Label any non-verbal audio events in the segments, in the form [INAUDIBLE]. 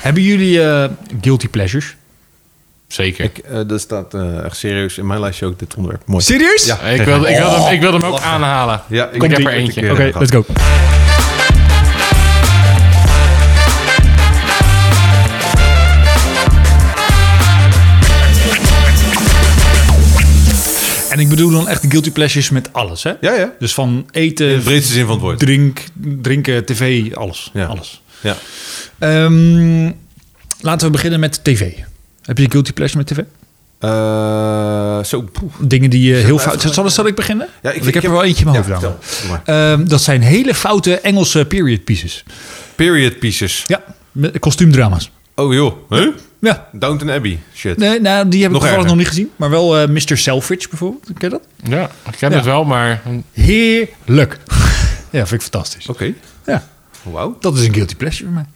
Hebben jullie eh, guilty pleasures? Zeker. Ik, Ik, eh dat staat eh, echt serieus in mijn lijstje ook dit onderwerp. Mooi. Serieus? Ja. wilde, ik, wilde hem, ik wilde hem ook aanhalen. Ja, ik heb er die- eentje. ik, eh, Oké, gehad. let's go. En ik bedoel dan echt guilty pleasures met alles, hè? Ja, ja. Dus van In de eten, breedste zin van het woord. drink, drinken, tv, alles. Ja. alles. Ja. Ehm, laten we beginnen met tv. Heb je guilty pleasure met tv? Eh, zo, poeh. Dingen die je heel maar fout... even- Zal, zal ik beginnen? Ja, Ja, ik, ik- ik ik heb heb- er wel eentje in mijn Ja, hoofd. namelijk. vertel. Doe maar. Ehm, dat zijn hele foute Engelse period pieces. Period pieces. Ja, met kostuumdrama's. Oh joh. Huh? Ja. Downton Abbey. Shit. Nee, nou, die heb Nog ik toevallig erger. nog niet gezien. Maar wel eh, Mr. Selfridge bijvoorbeeld. Ken je dat? Ja, ik ken Ja. het wel, maar... [LAUGHS] Heerlijk. ja, vind ik fantastisch. Oké. Ja, Wauw. dat is een guilty pleasure voor mij.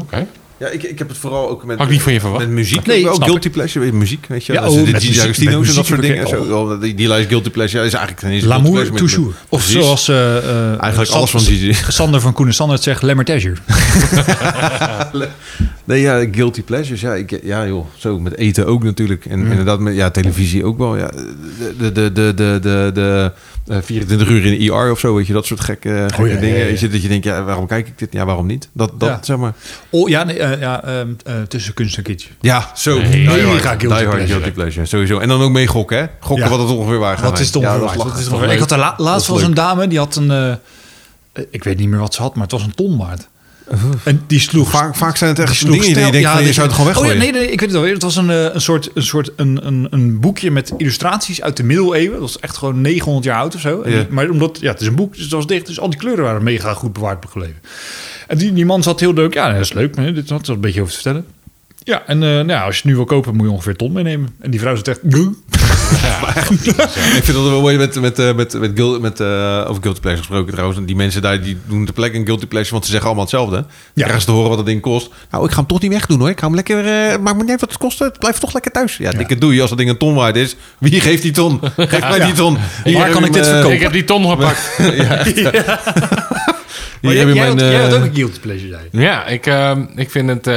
Oké. Ja, ik, ik heb het vooral ook met, Had ik niet van je verwacht. met muziek. Nee, ook wel snap guilty pleasure weet je, muziek, weet je. Ja, Ja, oh, oh, de met DJ muziek- Agostino's en met dat soort muziek dingen. verkeerd. Zo, oh, die, die lijst guilty pleasure is eigenlijk geen eens een guilty L'amour pleasure met- toujours. met- Of Precies. zoals eh, eh, Eigenlijk alles van Gigi. Sander van Koenen Sander het zegt, Lemmer Tasher. Nee, ja, guilty pleasures. Ja, ik, ja joh, zo met eten ook natuurlijk. Mm. En inderdaad, met ja, televisie ook wel. Ja. De, de, de, de, de, de, de, eh, 24 uur in de IR of zo, weet je, dat soort gekke, gekke Oh, ja, ja, dingen. ja. Weet je, dat je denkt, ja, waarom kijk ik dit? Ja, waarom niet? Dat, dat Ja. zeg maar. [LAUGHS] Oh ja, nee, eh, ja ehm, eh, tussen kunst en kitsch. Ja, zo. Nee, die die hard, ga ik die guilty hard pleasure. guilty pleasure, sowieso. En dan ook mee gokken, hè? Gokken Ja. wat het ongeveer waar gaat. Wat is het Ja, ongeveer dat waard? is Wat lachen. is het ongeveer? leuk. Ik had de la- Dat laatst is was leuk. een dame die had een. eh, eh, ik weet niet meer wat ze had, maar het was een ton waard. En die sloeg. Vaak, vaak zijn het echt die dingen sloeg die je stijl- denkt, van, je dit- zou het gewoon weggooien. Oh, ja, nee, nee, ik weet het alweer. Het was een, eh, een soort, een, soort een, een, een boekje met illustraties uit de middeleeuwen. Dat was echt gewoon 900 jaar oud of zo. En Ja. die- maar omdat ja, het is een boek, dus het was dicht. Dus al die kleuren waren mega goed bewaard gebleven. En die, die man zat heel leuk. Ja, dat is leuk. hè, Dit had er een beetje over te vertellen. Ja, en eh, nou, ja, als je het nu wil kopen, moet je ongeveer ton meenemen. En die vrouw zat echt... [LAUGHS] [LAUGHS] "Buh." Ik vind dat wel mooi met, met, eh, met, met, guil- met eh, over guilty pleasure gesproken trouwens. Die mensen daar die doen de plek een guilty pleasure, want ze zeggen allemaal hetzelfde. Ja. Krijgen ze te horen wat dat ding kost. Nou, ik ga hem toch niet wegdoen hoor. Ik hou hem lekker, eh maakt me niet uit wat het kost. Het blijft toch lekker thuis. Ja, dikke doei. Als dat ding een ton waard is, wie geeft die [LAUGHS] ton? Geef mij die ton. Hier Waar heb kan je ik dit mijn- verkopen? Ik heb die ton gepakt. Hier Maar heb jij, je mijn... had, jij had eh, ook een guilty pleasure, zei je. Ja, ik, eh, ik vind het... eh,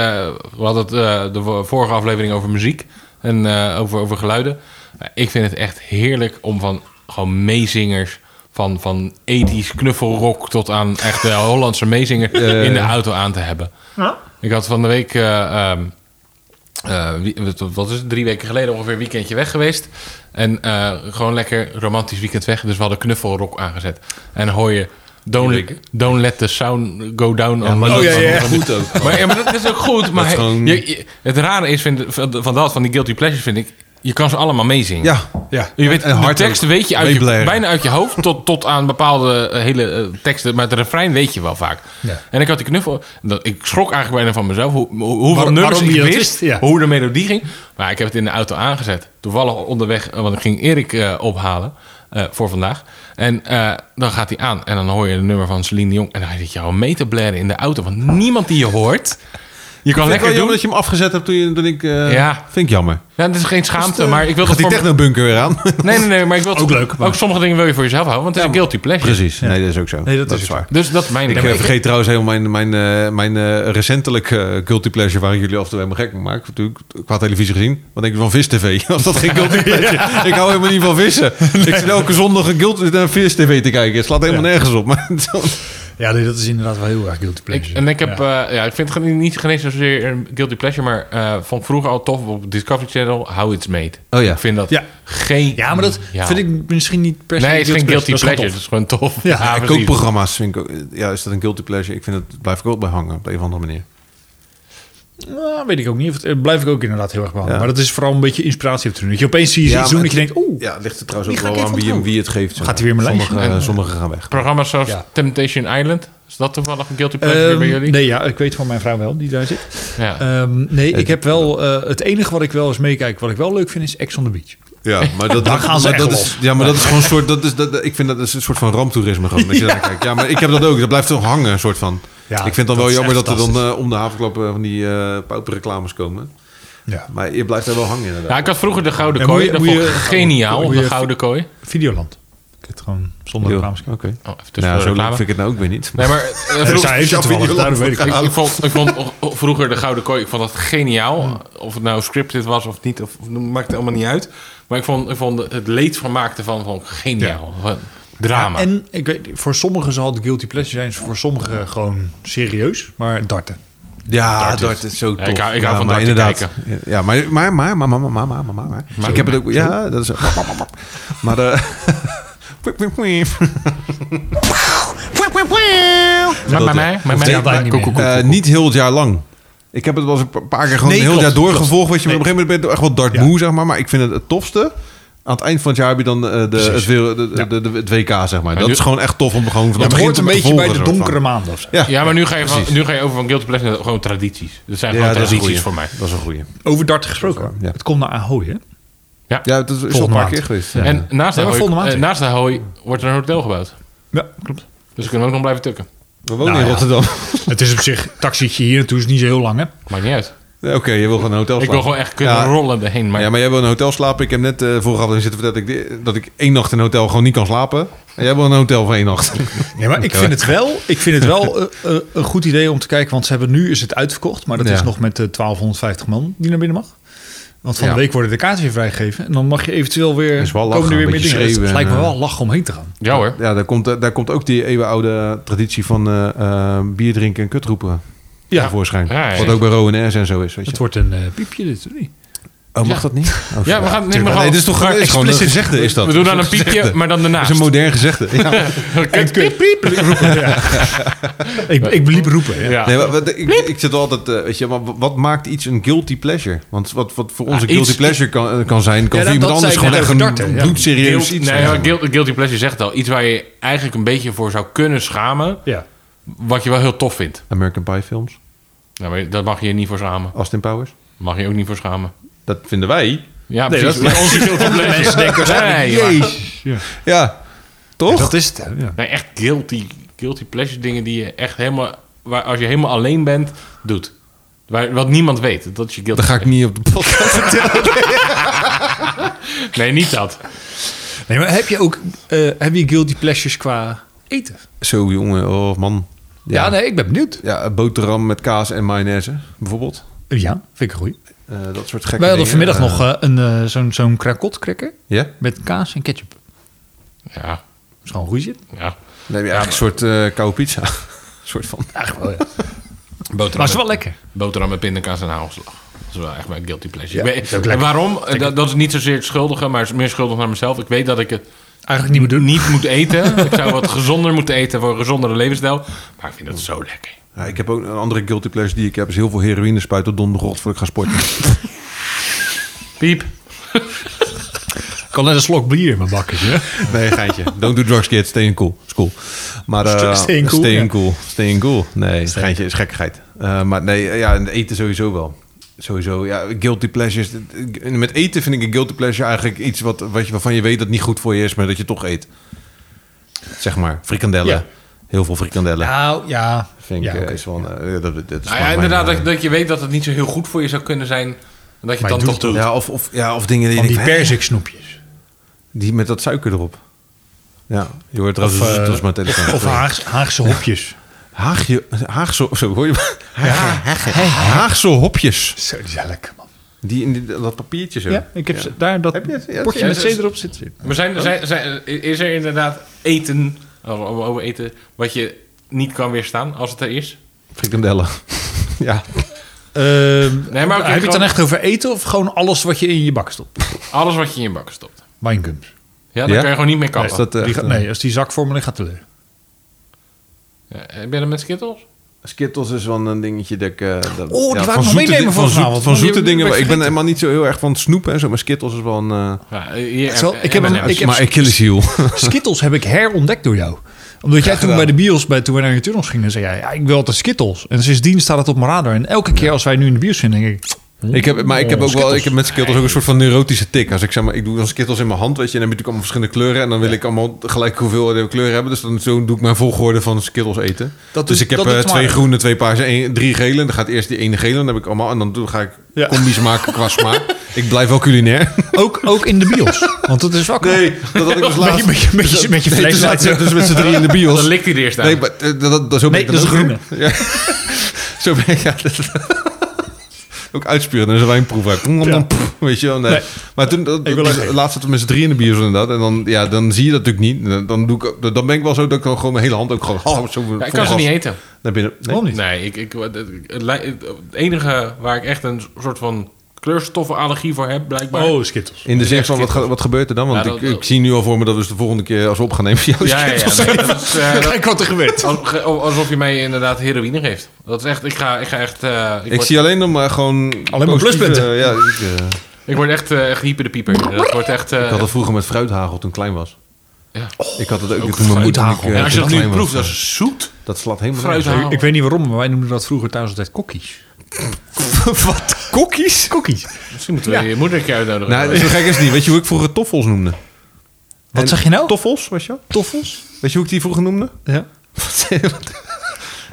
we hadden het, eh, de vo- vorige aflevering over muziek en eh, over, over geluiden. Nou, ik vind het echt heerlijk om van gewoon meezingers... Van, van ethisch knuffelrock tot aan echt de Hollandse meezinger in de auto aan te hebben. Ik had van de week... eh, ehm, eh, wie- wat- wat is het, drie weken geleden ongeveer een weekendje weg geweest. En eh, gewoon lekker romantisch weekend weg. Dus we hadden knuffelrock aangezet. En dan hoor je... Drie Don't, weken. don't let the sound go down Oh, Ja, on maar me. dat Oh, ja, ja. is goed ook. Maar, ja, maar dat is ook goed. Maar is gewoon- je- je- het rare is vind, van van dat, van die guilty pleasures, vind ik... Je kan ze allemaal meezingen. Ja, Ja. Je weet, en de hard teksten ook. weet je, uit je Meeblaren. bijna uit je hoofd tot, tot aan bepaalde eh, hele eh, teksten. Maar het refrein weet je wel vaak. Ja. En ik had die knuffel. dat- Ik schrok eigenlijk bijna van mezelf. Hoe, hoe- hoeveel Waarom- nummers waarom ik je dat wist. wist, ja. Hoe de melodie ging. Maar ik heb het in de auto aangezet. Toevallig onderweg, eh, want ik ging Erik eh, ophalen. eh, voor vandaag. En eh, dan gaat hij aan. En dan hoor je het nummer van Celine Dion. En dan zit je al mee te blaren in de auto. Want niemand die je hoort. Je kan Lekker lekker jammer doen. dat je hem afgezet hebt toen, je, toen ik... eh, Ja. Vind ik jammer. Ja, dat is geen schaamte. Maar ik wil eh, Gaat dat die voor technobunker weer [LAUGHS] aan? Nee, nee, nee, maar ik wil Ook leuk, maar- Ook sommige dingen wil je voor jezelf houden, want het is een guilty pleasure. Precies. Nee, dat is ook zo. Nee, dat is ook zo. waar. Dus dat is mijn Ik ding. eh, vergeet trouwens helemaal mijn, mijn, eh, mijn eh, recentelijk eh, guilty pleasure... waar ik jullie af en toe helemaal gek mee maak. Natuurlijk, qua televisie gezien. Wat denk je van Vis [LAUGHS] TV? Was dat geen guilty pleasure? Ik hou helemaal niet van [LAUGHS] vissen. Ik zit elke zondag een guilty eh, naar Vis TV te kijken. Het slaat helemaal nergens op. Maar [LAUGHS] dan- Ja, nee, dat is inderdaad wel heel erg guilty Ik, pleasure. en ik heb, ja. ja, ik vind het gewoon niet geen eens zozeer een guilty pleasure, maar eh vond ik vroeger al tof op Discovery Channel, How It's Made. Oh ja. Ik vind dat Ja. geen... ja, maar dat vind ik misschien niet per se Nee, het is geen guilty dat is gewoon pleasure, het is gewoon tof. Ja, Ja, precies. kookprogramma's vind ik ook... Ja, is dat een guilty pleasure? Ik vind het... het Blijf ik ook bij hangen op de een of andere manier. tof. Nou, weet ik ook niet. Of het, eh, blijf ik ook inderdaad heel erg behandelen. Ja. Maar dat is vooral een beetje inspiratie op te doen. Dat je opeens zie je Ja, iets doen maar dat je denkt... Oeh, Ja, het ligt er trouwens Die ook ga wel ik aan even wie en wie het geeft. Gaat hij weer mijn lijstje? Sommigen, eh, sommigen gaan weg. Programma's zoals Ja. Temptation Island, is dat toevallig een guilty pleasure ehm, bij jullie? nee, ja, ik weet van mijn vrouw wel, die daar zit. Ja. Ehm, nee, ik heb wel... eh, het enige wat ik wel eens meekijk, wat ik wel leuk vind, is Ex on the Beach. Ja, maar dat, Daar gaan ze maar echt op. dat is, Ja, maar dat is gewoon een soort. Dat is, dat, ik vind dat is een soort van ramptoerisme gewoon. Als je daar kijkt. Ja, maar ik heb dat ook. Dat blijft toch hangen, een soort van. Ja, ik vind het dan dat wel is jammer echt dat er dan eh, om de havenklap eh, van die eh pauperreclames komen. Ja. Maar je blijft daar wel hangen ja, inderdaad. ik had vroeger de Gouden Ja, Kooi, moet je- dat moet vond ik je- geniaal, moet je- de Gouden Kooi. Videoland. het gewoon zonder reclames Oké. Oh, even tussen Nou, de zo leuk reclame. vind ik het nou ook weer niet. Nee, maar eh, kijken. vroeg- Zij heeft het toevallig gedaan, dat weet ik ik, niet. ik vond, ik vond o- o- vroeger de Gouden Kooi, ik vond dat geniaal. Of het nou scripted was of niet, of, maakt het allemaal niet uit. Maar ik vond, ik vond het leedvermaak ervan vond ik geniaal. Gewoon Drama. Ah, En ik weet, voor sommigen zal het guilty pleasure zijn, voor sommigen gewoon serieus. Maar darten. Ja, dat is zo tof. ik hou- ik hou Ja, van maar darten inderdaad. Ja, maar, maar, maar, maar, maar, maar, maar, maar, maar, maar. Ik heb het ook... Ja, dat is... [LAUGHS] Maar eh, [LAUGHS] de... Maar bij mij, bij mij, dat eh, lijkt niet meer. koek, koek, koek, Eh, koek. niet heel het jaar lang. Ik heb het wel eens een paar keer gewoon Nee, een heel klopt, jaar doorgevolgd. klopt. Weet je, maar op een gegeven moment ben je echt wel dartmoe, zeg maar. Maar ik vind het het tofste. Aan het eind van het jaar heb je dan eh, de, het, weer- de, de, de- de- het WK, zeg maar. Dat nu- is gewoon echt tof om gewoon van Dat begin hoort tot een het beetje bij volgen, de soort van. donkere maanden of zo. Ja, Ja, maar nu ga, je van, Precies. nu ga je over van guilty pleasure naar gewoon tradities. Dat zijn Ja, gewoon dat is een tradities goeie. voor mij. Dat is een goeie. Over darten gesproken. Ja. Het komt naar Ahoy, hè? Ja, dat is- is al een Volgende paar maand. keer geweest. Ja. En naast de Ja, maar Ahoy, volgende maand eh, weer. naast de Ahoy wordt er een hotel gebouwd. Ja, klopt. Dus we kunnen ook nog blijven tukken. We wonen Nou in ja. Rotterdam. Het is op zich, taxietje hier naartoe is niet zo heel lang, hè? Maakt niet uit. Ja, Oké, je wil gewoon een hotel slapen. Ik wil gewoon echt kunnen Ja. rollen erheen. Maar Ja, maar jij wil in een hotel slapen. Ik heb net eh vorige aflevering zitten verteld dat ik, di- dat ik één nacht in een hotel gewoon niet kan slapen. En jij wil een hotel van één nacht. Ja, maar ik vind het wel, ik vind het wel eh, eh, een goed idee om te kijken. Want ze hebben nu is het uitverkocht. Maar dat Ja. is nog met de 1250 man die naar binnen mag. Want van Ja. de week worden de kaarten weer vrijgegeven. En dan mag je eventueel weer... Dat is wel komen lachen, er weer een meer beetje dingen. Het, het schreeuwen lijkt en, eh, me wel lachen om heen te gaan. ja hoor. Ja, daar komt, eh, daar komt ook die eeuwenoude traditie van eh, eh, bier drinken en kut roepen Ja. voorschijn. Ja, ja, Wat ja. ook bij Rowan S en zo is. Weet je. Het wordt een eh, piepje dit, of niet? Oh, mag Ja. dat niet? Ja, we gaan het niet meer Nee, dit is toch maar gewoon, is gewoon een expliciet. gezegde is dat. We doen dan Dat een is piepje, gezegde. maar dan Dat daarnaast. is een modern gezegde. Ja. Kut, piep, [LAUGHS] Ik, ik bliep roepen, ja. Ja. Nee, maar, wat- ik, ik zit altijd, eh, weet je, maar wat maakt iets een guilty pleasure? Want wat, wat voor ons Ah, een guilty iets- pleasure kan, eh, kan zijn, kan Ja, voor dat- iemand dat zei anders ik gewoon echt net een over darten, ja. bloedserieus Guilt- iets eh, nee, zijn. maar guilt- guilty pleasure zegt het al. Iets waar je eigenlijk een beetje voor zou kunnen schamen. Ja. Wat je wel heel tof vindt. American Pie films, Nou, maar dat mag je je niet voor schamen. Austin Powers. Mag je ook niet voor schamen. Dat vinden wij. Ja, Nee, precies. dat is- Met onze [LAUGHS] guilty pleasure. Nee, maar- Ja, toch? Dat is het, hè? Ja. Nee, echt guilty, guilty pleasure dingen die je echt helemaal... Waar, als je helemaal alleen bent, doet. Waar, wat niemand weet. Dat is je guilty Dat ga ik niet op de podcast vertellen. pleasure. Nee, niet dat. Nee, maar heb je ook eh, heb je guilty pleasures qua eten? Zo, jongen. Oh, man. Ja, nee, ik ben benieuwd. Ja, een boterham met kaas en mayonaise, bijvoorbeeld. Ja, vind ik een goeie. Eh, dat soort gekke Wij hadden dingen. vanmiddag Eh, nog eh, een, eh, zo'n zo'n krakotkrekker Ja? met kaas en ketchup. Ja, Dat is gewoon goeie zit. ja. Dan heb je eigenlijk een soort eh koude pizza. [LAUGHS] Een soort van. Eigenlijk wel, ja. [LAUGHS] Maar Boterham, het is wel lekker. met, boterham met pindakaas en hagelslag. Dat is wel echt mijn guilty pleasure. Ja, Ik is weet, ook en lekker. waarom? Eh, Dat, dat is niet zozeer het schuldige, maar het is meer schuldig naar mezelf. Ik weet dat ik het Eigenlijk niet meer doen. niet moet [LAUGHS] eten. ik zou wat gezonder moeten eten voor een gezondere levensstijl. Maar ik vind dat zo lekker. Ja, ik heb ook een andere guilty pleasure die ik heb. Is heel veel heroïne spuiten op dondergocht voor ik ga sporten. Piep. Ik had net een slok bier in mijn bakkertje. [LAUGHS] Nee, geintje. Don't do drugs, kids. Stay in cool. Is cool. Maar, eh, Stay in cool, Stay in ja. cool. Stay in cool. Nee, geintje is gekkigheid. Eh, maar nee, ja, en eten sowieso wel. Sowieso, ja, guilty pleasures. Met eten vind ik een guilty pleasure eigenlijk iets wat, wat je, waarvan je weet dat het niet goed voor je is, maar dat je toch eet. Zeg maar, frikandellen. Ja. Heel veel frikandellen. Nou, ja. Vind ik, ja, eh, oké. is wel, een, eh, dat, dat is Nou gewoon ja, mijn, inderdaad, eh, dat, dat je weet dat het niet zo heel goed voor je zou kunnen zijn. En dat je Maar het je dan doet toch doet. ja, of, of, ja, of dingen die, Van je die denkt, hè? persik snoepjes. die met dat suiker erop. Ja, je hoort Of, trouwens eh, dat is mijn telefoon. Of Haagse, Haagse hopjes. Haagje, Haagse, zo hoor je me? Haagse hopjes. [LAUGHS] Zo, die zijn lekker, man. Die in die- dat papiertje zo. Ja, ik heb ze- daar dat Heb je het? Ja, potje ja, met ze- C erop zitten. Maar zijn, zijn, zijn- is er inderdaad eten, oh, oh, over eten, wat je niet kan weerstaan als het er is? Frikandellen. [LAUGHS] ja. Nee, maar Ehm, heb oké, je het dan gewoon- echt over eten of gewoon alles wat je in je bak stopt? Alles wat je in je bak stopt. Winegums. Ja, daar Ja? kun je gewoon niet mee kappen. Is dat, eh, Die gaat- Nee, als die zak voor me ligt, gaat het [LAUGHS] leeg. Ja, eh, ben je dat met Skittles? Skittles is wel een dingetje dat ik... eh, dat- die wou ik van nog zoete meenemen di- van volgens mij, zoet- want Van die zoete heb ik dingen. weer Ik ben vergeten. helemaal niet zo heel erg van het snoepen en zo. Maar Skittles is wel een... eh, Ja, hier, Zo, eh, ik heb hem- M&M's. ik heb- maar ik kill heel. Skittles heb ik herontdekt door jou. Omdat jij toen gedaan. bij de bios, bij, toen we naar je tunnels gingen, zei jij... Ja, ik wil altijd Skittles. En sindsdien staat het op mijn radar. En elke keer als wij nu in de bios zijn, denk ik... Ik heb, maar ik heb Oh, ook wel, Skittles. ik heb met Skittles ook een soort van neurotische tik. Als ik zeg maar, ik doe dan Skittles in mijn hand, weet je, en dan heb je natuurlijk allemaal verschillende kleuren. En dan wil ik allemaal gelijk hoeveel kleuren hebben. Dus dan zo doe ik mijn volgorde van Skittles eten. Dat dus doet- ik heb dat eh, doet twee Mario. groene, twee paarse, één- drie gele. Dan gaat eerst die ene gele, dan heb ik allemaal. En dan doe, ga ik Ja. [LAUGHS] combis maken qua smaak. Ik blijf wel culinair. Ook, ook in de [LAUGHS] bios. Want dat is wakker. Nee, dat had ik dus laatst... Met je, met je, met je Nee, toen flashlight. zaten we dus met z'n drie in de bios. Dan likt hij er eerst aan. Nee, maar, eh, dat, dat, dat, zo ben Nee, ik dat is ook groene. weer. [LAUGHS] Ja. Zo ben ik... Ja, dat- [LAUGHS] ook uitspuren, dan is een wijnproef uit. Pom, pom, Ja. pom, weet je wel, nee. Nee. Maar toen, dat, Ik wil dus ook geen. laatst zaten we met z'n drieën in de bios inderdaad. En dan, ja, dan zie je dat natuurlijk niet. Dan, dan, doe ik, ook- dan ben ik wel zo dat ik dan gewoon mijn hele hand ook gewoon... [LAUGHS] Oh, zo, Ja, ik kan ze niet eten. Naar binnen. Nee. Waarom niet? Nee, ik, ik, het, het lij- het- het enige waar ik echt een soort van kleurstoffenallergie voor heb, blijkbaar. Oh, skittles. In de zin echt van, wat, kikkels. ga- wat gebeurt er dan? Want Ja, ik, dat- ik zie nu al voor me dat we dus de volgende keer als we op gaan nemen... [LAUGHS] voor jou ja, ja, ja. kikkels nee, zijn. dat is, [LAUGHS] eh, dat- Kijk wat er gebeurt. als- alsof je mij inderdaad heroïne geeft. Dat is echt, ik ga, ik ga echt, eh, ik, Ik word, zie alleen nog maar gewoon... Alleen maar positieve- pluspunten. Ja, ik, eh, ik word echt, eh, echt hyper de pieper. Dat wordt echt, eh, ik had het vroeger met fruithagel toen ik klein was. ja. Ik had het ook, Ook toen mijn moeder... fruithagel. toen ik, eh, En als je toen dat nu klein was. proeft, dat is zoet. Dat slaat helemaal Fruithagel. Ik weet niet waarom, maar wij noemden dat vroeger thuis altijd kokkies. [LAUGHS] Wat? Kokkies? Kokkies. Misschien moeten we je moeder een keer uitnodigen. Nou, zo gek is het niet. Weet je hoe ik vroeger toffels noemde? Wat zeg je nou? Toffels, weet je wel? Toffels? Weet je hoe ik die vroeger noemde? [LAUGHS] Ja.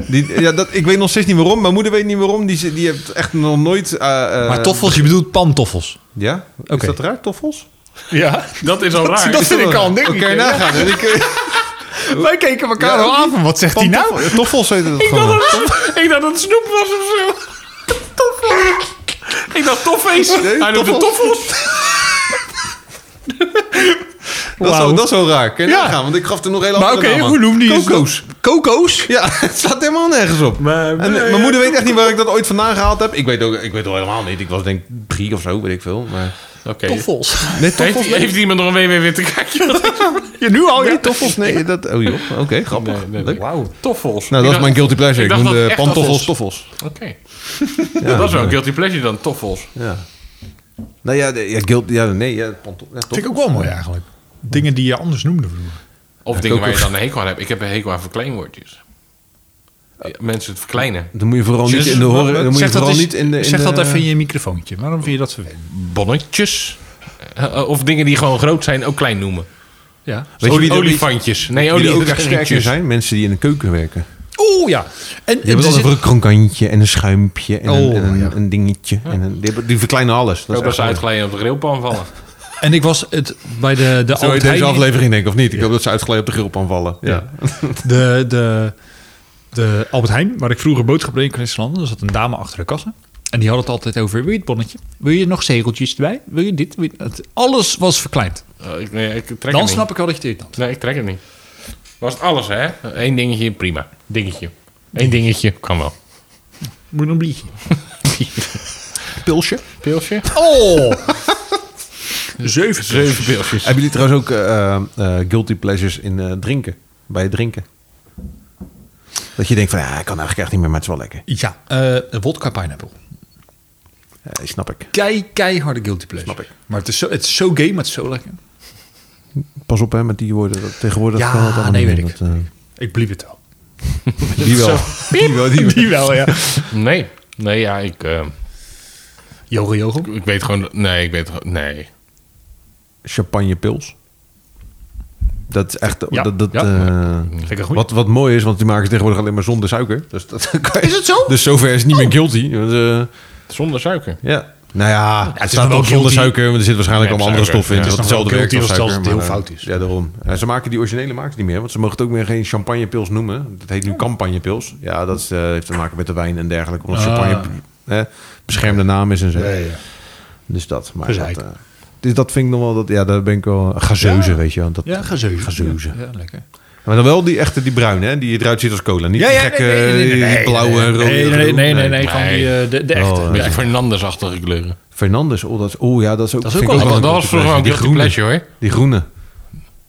Die, ja, dat, ik weet nog steeds niet waarom. Mijn moeder weet niet waarom. Die, ze- die heeft echt nog nooit... eh, eh, Maar toffels, je bedoelt pantoffels. Ja? Is Oké. dat raar, toffels? Ja, dat is al [LAUGHS] raar. dat vind ik al een ding. Oké, nagaan. En ik, eh, [LAUGHS] Wij keken elkaar Ja, al ook af. en Wat zegt hij nou? pantoffel- Toffels heette dat gewoon. ik dacht dat het snoep was of zo. Ik dacht toffees. Nee, Hij noemt het toffels. Dat is, Wauw. zo, dat is zo raar. Kan je Ja. nagaan? Want ik gaf er nog heel Maar oké, hoe noemde je ze? Coco's. Koko's? Ja, [LAUGHS] het staat helemaal nergens op. Maar- en, mijn moeder weet echt niet waar ik dat ooit vandaan gehaald heb. Ik weet ook, ik weet het al helemaal niet. Ik was denk ik drie of zo, weet ik veel. Maar... Oké. Toffels. Nee, toffels. Heeft, nee. heeft iemand nog een www te kijken? Ja, nu al, Nee, ja. toffels, nee. Dat, oh joh, oké, grappig. Leuk. Wauw. Toffels. Nou, Ik dat is dacht- mijn guilty pleasure. ik Ik, dacht noem dat de echt pantoffels toffels. Oké. [LAUGHS] dat is wel een guilty pleasure dan, toffels. Ja. Nou ja, de- ja, guilt, ja nee, ja, pantof, ja, Vind ik toffels. ook wel mooi eigenlijk. Dingen die je anders noemde vroeger. Of dingen waar je ook. dan een hekel aan hebt. Ik heb een hekel aan verkleinwoordjes. Eh. Ja, mensen het verkleinen. Dan moet je vooral niet in de horen. Dan moet je Zeg dat vooral eens- niet in de. in Zeg dat de- even in je microfoontje. Waarom vind je dat vervelend? Bonnetjes. Eh, Of dingen die gewoon groot zijn, ook klein noemen. Ja. Weet je wie Olie- er ook- olifantjes. Nee, die er ook echt sterk in olifantjes. zijn? Mensen die in de keuken werken. Oeh, ja. En, dus Die hebben het over een krokantje en een schuimpje en, Oh, een, en een, ja. een dingetje. En een, die, hebben- die verkleinen alles. Ook echt als ze waar. uitglijden op de grillpan vallen. [LAUGHS] en ik was het bij de, de Zo heet Albert deze Heijn- aflevering denk ik, of niet? Ik hoop dat ze uitgeleid op de gril aanvallen. Ja. Ja. de, de, de Albert Heijn, waar ik vroeger boodschap deed in Christenland, er zat een dame achter de kassa. En die had het altijd over, wil je het bonnetje? Wil je nog zegeltjes erbij? Wil je dit? Wil je dat? Alles was verkleind. Eh, ik, nee, ik trek het Dan niet. snap ik wel dat je het irritant Nee, ik trek het niet. Was het alles, hè? Eén dingetje, prima. Dingetje. Eén dingetje, kan wel. vindt. Moet je nog een [LAUGHS] biertje? Pilsje. Pilsje? Oh! [LAUGHS] Zeven. Zeven pilsjes. Hebben jullie trouwens ook eh, eh, guilty pleasures in eh, drinken? Bij het drinken? Dat je denkt van, ja, ik kan eigenlijk echt niet meer, maar het is wel lekker. Ja, eh vodka pineapple. Ja, snap ik. Kei, keiharde guilty pleasure. Snap ik. Maar het is zo, het is zo gay, maar het is zo lekker. Pas op hè, met die woorden. Dat, tegenwoordig Ja, kan dat allemaal nee, niet weet meer. ik. [LAUGHS] Dat, eh, Ik blieb het wel. die, wel. [LAUGHS] die wel. Die wel. [LAUGHS] Die wel, ja. Nee. Nee, ja, ik, eh, Jogo, jogo. ik weet gewoon... Nee, ik weet gewoon... Nee. Champagnepils. Dat is echt... Ja, dat, dat, ja. eh, Vind ik goed. wat, wat mooi is, want die maken ze tegenwoordig alleen maar zonder suiker. Dus dat kan je- Is het zo? [LAUGHS] Dus zover is het niet meer guilty. Want, eh, Zonder suiker. ja. Nou ja, het, is nog wel staat wel zonder guilty. suiker, want er zit waarschijnlijk Ja, allemaal andere suiker. stoffen in. Ja, dat het is nog hetzelfde wel werkt guilty als als het suiker. zelfs maar, heel eh, fout is. Ja, daarom. Eh, ze maken die originele maken ze niet meer, want ze mogen het ook meer geen champagnepils noemen. Dat heet nu campagnepils. Ja, dat is, eh, heeft te maken met de wijn en dergelijke. Ah. Omdat champagne eh, beschermde naam is en zo. ja. Dus dat. Maar dat, Gezeik. eh, dus dat vind ik nog wel... Dat, ja, daar ben ik wel... Gazeuze, weet je wel. Dat, Ja, gazeuze. Gazeuze. Ja, lekker. Maar dan wel die echte, die bruine, hè? die eruit ziet als cola. Niet die gekke die blauwe en rode. Nee, nee, nee, nee, groene. nee, nee, Nee. gewoon die, eh, de, de Oh, echte. eh, Een beetje Fernandes-achtige kleuren. Fernandes, oh, dat is, oh ja, dat is ook... Dat is vind ook ik wel- Dat, een was vroeger wel een guilty guilty pleasure. pleasure, hoor. Die groene. En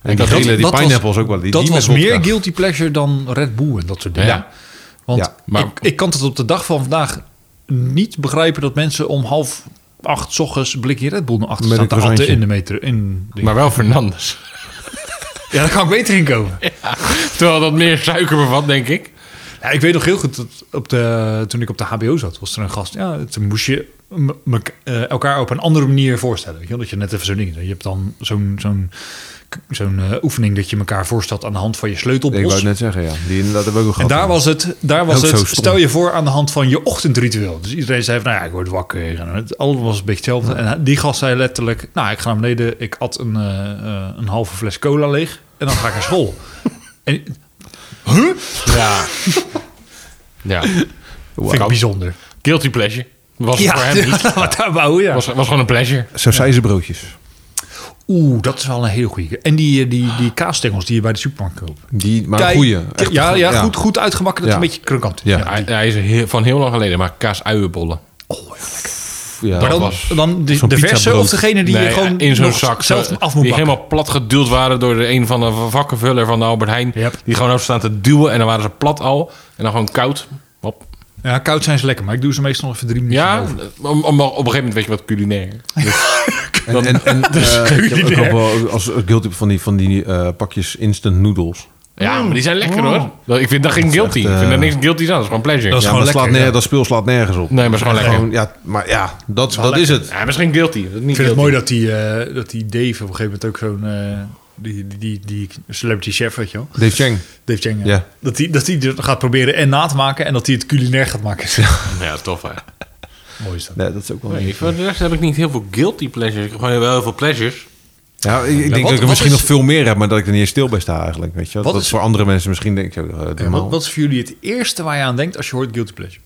die dat- gele, die dat was- pineapples ook wel. Die, dat die was met meer vodka. guilty pleasure dan Red Bull en dat soort dingen. Ja. Want Ja, maar- ik, ik kan het op de dag van vandaag niet begrijpen dat mensen om half acht 's ochtends een blikje Red Bull naar achter Met staan te een atten croissantje. in de meter. In de- Maar wel Fernandes. Ja, daar kan ik beter in komen. Terwijl dat meer suiker bevat, denk ik. Ja, ik weet nog heel goed, dat op de, toen ik op de HBO zat, was er een gast. Ja, toen moest je m- mek- eh, elkaar op een andere manier voorstellen. Weet je, wel? dat je net even zo'n ding. Je hebt dan zo'n zo'n zo'n eh, oefening dat je elkaar voorstelt aan de hand van je sleutelbos. Ik wou het net zeggen, ja. Die inderdaad hebben we ook En daar was het, daar was Ook zo het stom. stel je voor aan de hand van je ochtendritueel. Dus iedereen zei van, nou ja, ik word wakker. En het, alles was een beetje hetzelfde. En die gast zei letterlijk, nou, ik ga naar beneden. Ik at een, eh, eh, een halve fles cola leeg. En dan ga ik naar school. [LAUGHS] en, Ja. ja. vind ik ook. bijzonder. Guilty pleasure. [LAUGHS] Was Ja, voor hem niet. maar daar wou ja. Was, was gewoon een pleasure. Zo zijn ze broodjes. Oeh, dat is wel een hele goeie. En die, eh, die, die kaasstengels die je bij de supermarkt koopt. Die, maar Kijk, goeie. Ja, Echt ja, goed. Goed, goed uitgemakken. Dat Ja. is een beetje krokant. Ja. Hij, hij is heel- van heel lang geleden, maar kaas uienbollen. Ja. Maar dan, was dan de, zo'n de verse pizzabrood. of degene die je Nee, gewoon in zo'n nog zak. zelf eh, af die moet bakken. helemaal plat geduwd waren door de een van de vakkenvuller van de Albert Heijn. Yep. Die gewoon over staan te duwen en dan waren ze plat al. En dan gewoon koud. Hop. Ja, koud zijn ze lekker, maar ik doe ze meestal even drie minuten Ja, over. om, om- op een gegeven moment weet je wat culinair. En, en, [LAUGHS] en eh, ik heb ook wel als guilty van die, van die eh, pakjes instant noodles. Ja, maar die zijn lekker hoor. Dat- Ik vind dat geen guilty. echt, eh, Ik vind daar niks guilty aan. Dat is gewoon pleasure. Dat is Ja, gewoon maar slaat lekker, neer, ja. dat speel slaat nergens op. Nee, maar het is gewoon lekker. Gewoon, ja, maar ja, dat, dat, is het. Ja, maar het is geen guilty. Dat is niet Ik vind het guilty. mooi dat die, eh, dat die Dave op een gegeven moment ook zo'n... eh, die, die, die, die celebrity chef, weet je wel. Dave Chang. Dave Chang, ja. Ja. Dat hij dat die dat gaat proberen en na te maken en dat hij het culinair gaat maken. Ja, tof hè. [LAUGHS] Mooi is dat. Nee, dat is ook wel Nee, voor de rest heb ik niet heel veel guilty pleasures. Ik heb gewoon wel heel veel pleasures. Ja, ik, ik denk wat- dat ik er wat misschien is- nog veel meer heb, maar dat ik er niet eens stil bij sta eigenlijk. Weet je? wel. Wat Dat is is- voor andere mensen misschien denk ik ook eh, En normaal. wat, wat is voor jullie het eerste waar je aan denkt als je hoort Guilty Pleasure?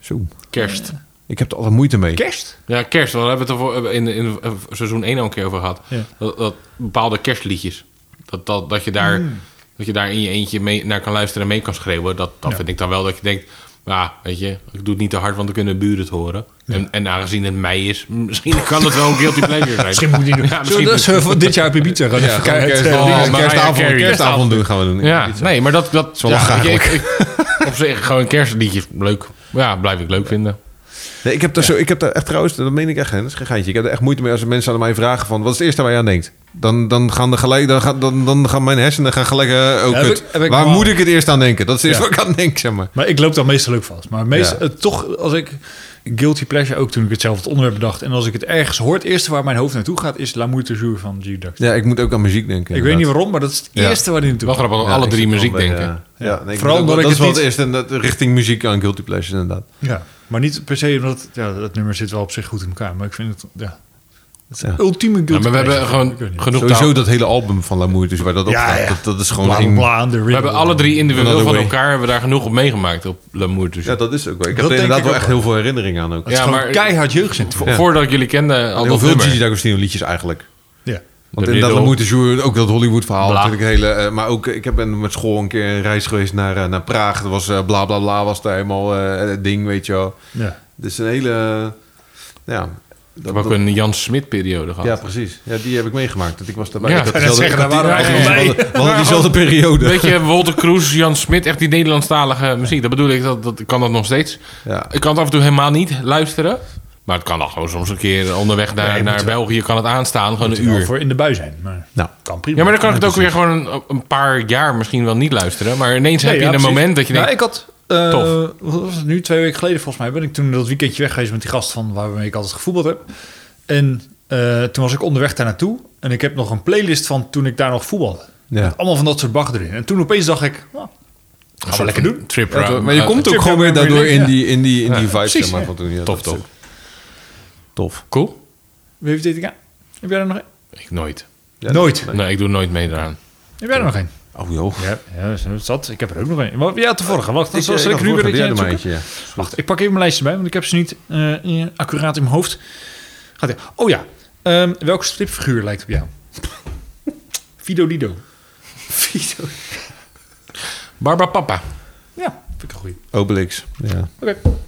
Zo. Kerst. Ik heb er altijd moeite mee. Kerst? Ja, kerst. Daar hebben we het er voor- in, in eh, seizoen 1 al een keer over gehad. Ja. Dat, dat bepaalde kerstliedjes. Dat, dat, dat, je daar, Mm. dat je daar in je eentje mee naar kan luisteren en mee kan schreeuwen. Dat, dat Ja. vind ik dan wel dat je denkt... Ja, weet je, ik doe het niet te hard, want dan kunnen de buren het horen. En, en aangezien het mei is, [LAUGHS] misschien kan het wel een guilty pleasure zijn. Misschien moet je [LAUGHS] niet doen. Zullen Ja, misschien we dat zo voor dit jaar op Ibiza gaan even kijken? kerst- Het, eh, Oh, ding- kerstavond, Mariah Carey. kerstavond, kerstavond doen gaan we doen. Ja, nee, maar dat... dat wel ja, lachen weet je, ik- ik- Op zich, gewoon kerstliedjes, leuk. Ja, blijf ik leuk vinden. Nee, ik, heb daar zo, ik heb daar echt trouwens, dat meen ik echt, hè, dat is geen geintje. Ik heb er echt moeite mee als mensen aan mij vragen van, wat is het eerste waar je aan denkt? Dan, dan, gaan, de gelijk, dan, gaan, dan, dan gaan mijn hersenen gaan gelijk, eh, oh Ja, heb kut, ik- heb ik waar wel. moet ik het eerst aan denken? Dat is het eerste Ja. waar ik aan denk, zeg maar. Maar ik loop daar meestal ook vast. Maar meestal, Ja. eh, toch, als ik Guilty Pleasure, ook toen ik hetzelfde onderwerp bedacht. En als ik het ergens hoor, het eerste waar mijn hoofd naartoe gaat, is La Moite Jour van G-Duck. Ja, ik moet ook aan muziek denken. Ik weet niet waarom, maar dat is het Ja. eerste waar hij naartoe Wel gaat. grappig dat alle drie muziek denken. Ja, eh, ja, Vooral nee, Vooral omdat dat, ik dat is het wel het niet- eerste, en dat- richting muziek aan Guilty Pleasure inderdaad. Ja. Maar niet per se omdat het- ja, dat nummer zit wel op zich goed in elkaar. Maar ik vind het ja, Ja. ultieme Ja, Guilty maar we hebben Pleasure. gewoon Ik weet niet. genoeg Sowieso taal. dat hele album van Lamour, dus waar dat op Ja, staat, ja. Dat, dat is gewoon Bla, bla, één- bla, de We hebben alle drie individueel Another van way. elkaar hebben we daar genoeg op meegemaakt op Lamour. Dus Ja, dat is ook wel. Ik heb denk er ik inderdaad wel ook echt heel veel herinneringen aan ook. Het is Ja, gewoon maar- keihard jeugdcentrum. Vo- Voordat ik jullie kende, al Heel dat veel nummer. Gigi D'Agostino liedjes eigenlijk. Ja. Want De inderdaad, Riddle. dan moet de jour, ook dat Hollywood verhaal Bla. natuurlijk een hele... eh, maar ook, eh, ik heb ben met school een keer een reis geweest naar, eh, naar Praag. Dat was eh, bla bla bla, was daar helemaal eh, het ding, weet je wel. Ja. Dus een hele... eh, ja, We dat, hebben ook dat- een Jan Smit periode gehad. ja, precies. Ja, die heb ik meegemaakt. Dat ik was daarbij. Ja, Ik had en dat dezelfde- zeggen, ik had daar die- waren wij we allemaal hadden- we hadden diezelfde periode. Weet je, Wolter Kroes, Jan Smit, echt die Nederlandstalige muziek. Dat bedoel ik, dat, dat, ik kan dat nog steeds. Ja. Ik kan het af en toe helemaal niet luisteren. Maar het kan dan gewoon soms een keer onderweg naar, naar België kan het aanstaan, gewoon een Wel uur. voor in de bui zijn. Maar Nou, kan prima. Ja, maar dan kan ik het ook weer gewoon een, een paar jaar misschien wel niet luisteren. Maar ineens heb je een moment dat je denkt... Ja, ik had... eh, Tof. Wat was het nu? Twee weken geleden volgens mij ben ik toen dat weekendje weg geweest met die gast van waarmee ik altijd gevoetbald heb. En eh, toen was ik onderweg daar naartoe. En ik heb nog een playlist van toen ik daar nog voetbalde. Ja. Met allemaal van dat soort bag erin. En toen opeens dacht ik, nou, gaan we lekker doen. "Oh, Trip Ja, around. maar je Eh, komt ook Trip gewoon weer down memory daardoor lane, in die, in die, in die vibe, precies, zeg maar, ja. van toen. Ja, Tof, dat is tof. Tof. Cool? Wie heeft dit gedaan? Heb jij er nog een? Ik nooit. Ja, Nooit. dat- Nee, ik doe nooit mee eraan. Heb jij er nog een? Oh joh. Ja, ja zat. Ik heb er ook nog een. Maar, ja, de vorige. Wacht, dan Ik- eh, zal ik ik had nu weer dat vorige, jij je doe maar aan het eentje, ja. zoeken- Wacht, ik pak even mijn lijstje bij, want ik heb ze niet eh, eh, accuraat in mijn hoofd. Gaat ie. Oh ja, Ehm welke stripfiguur lijkt op jou? [LAUGHS] Fido Dido. Fido. Barba Papa. Ja, vind ik een goeie. Obelix. Ja. Oké.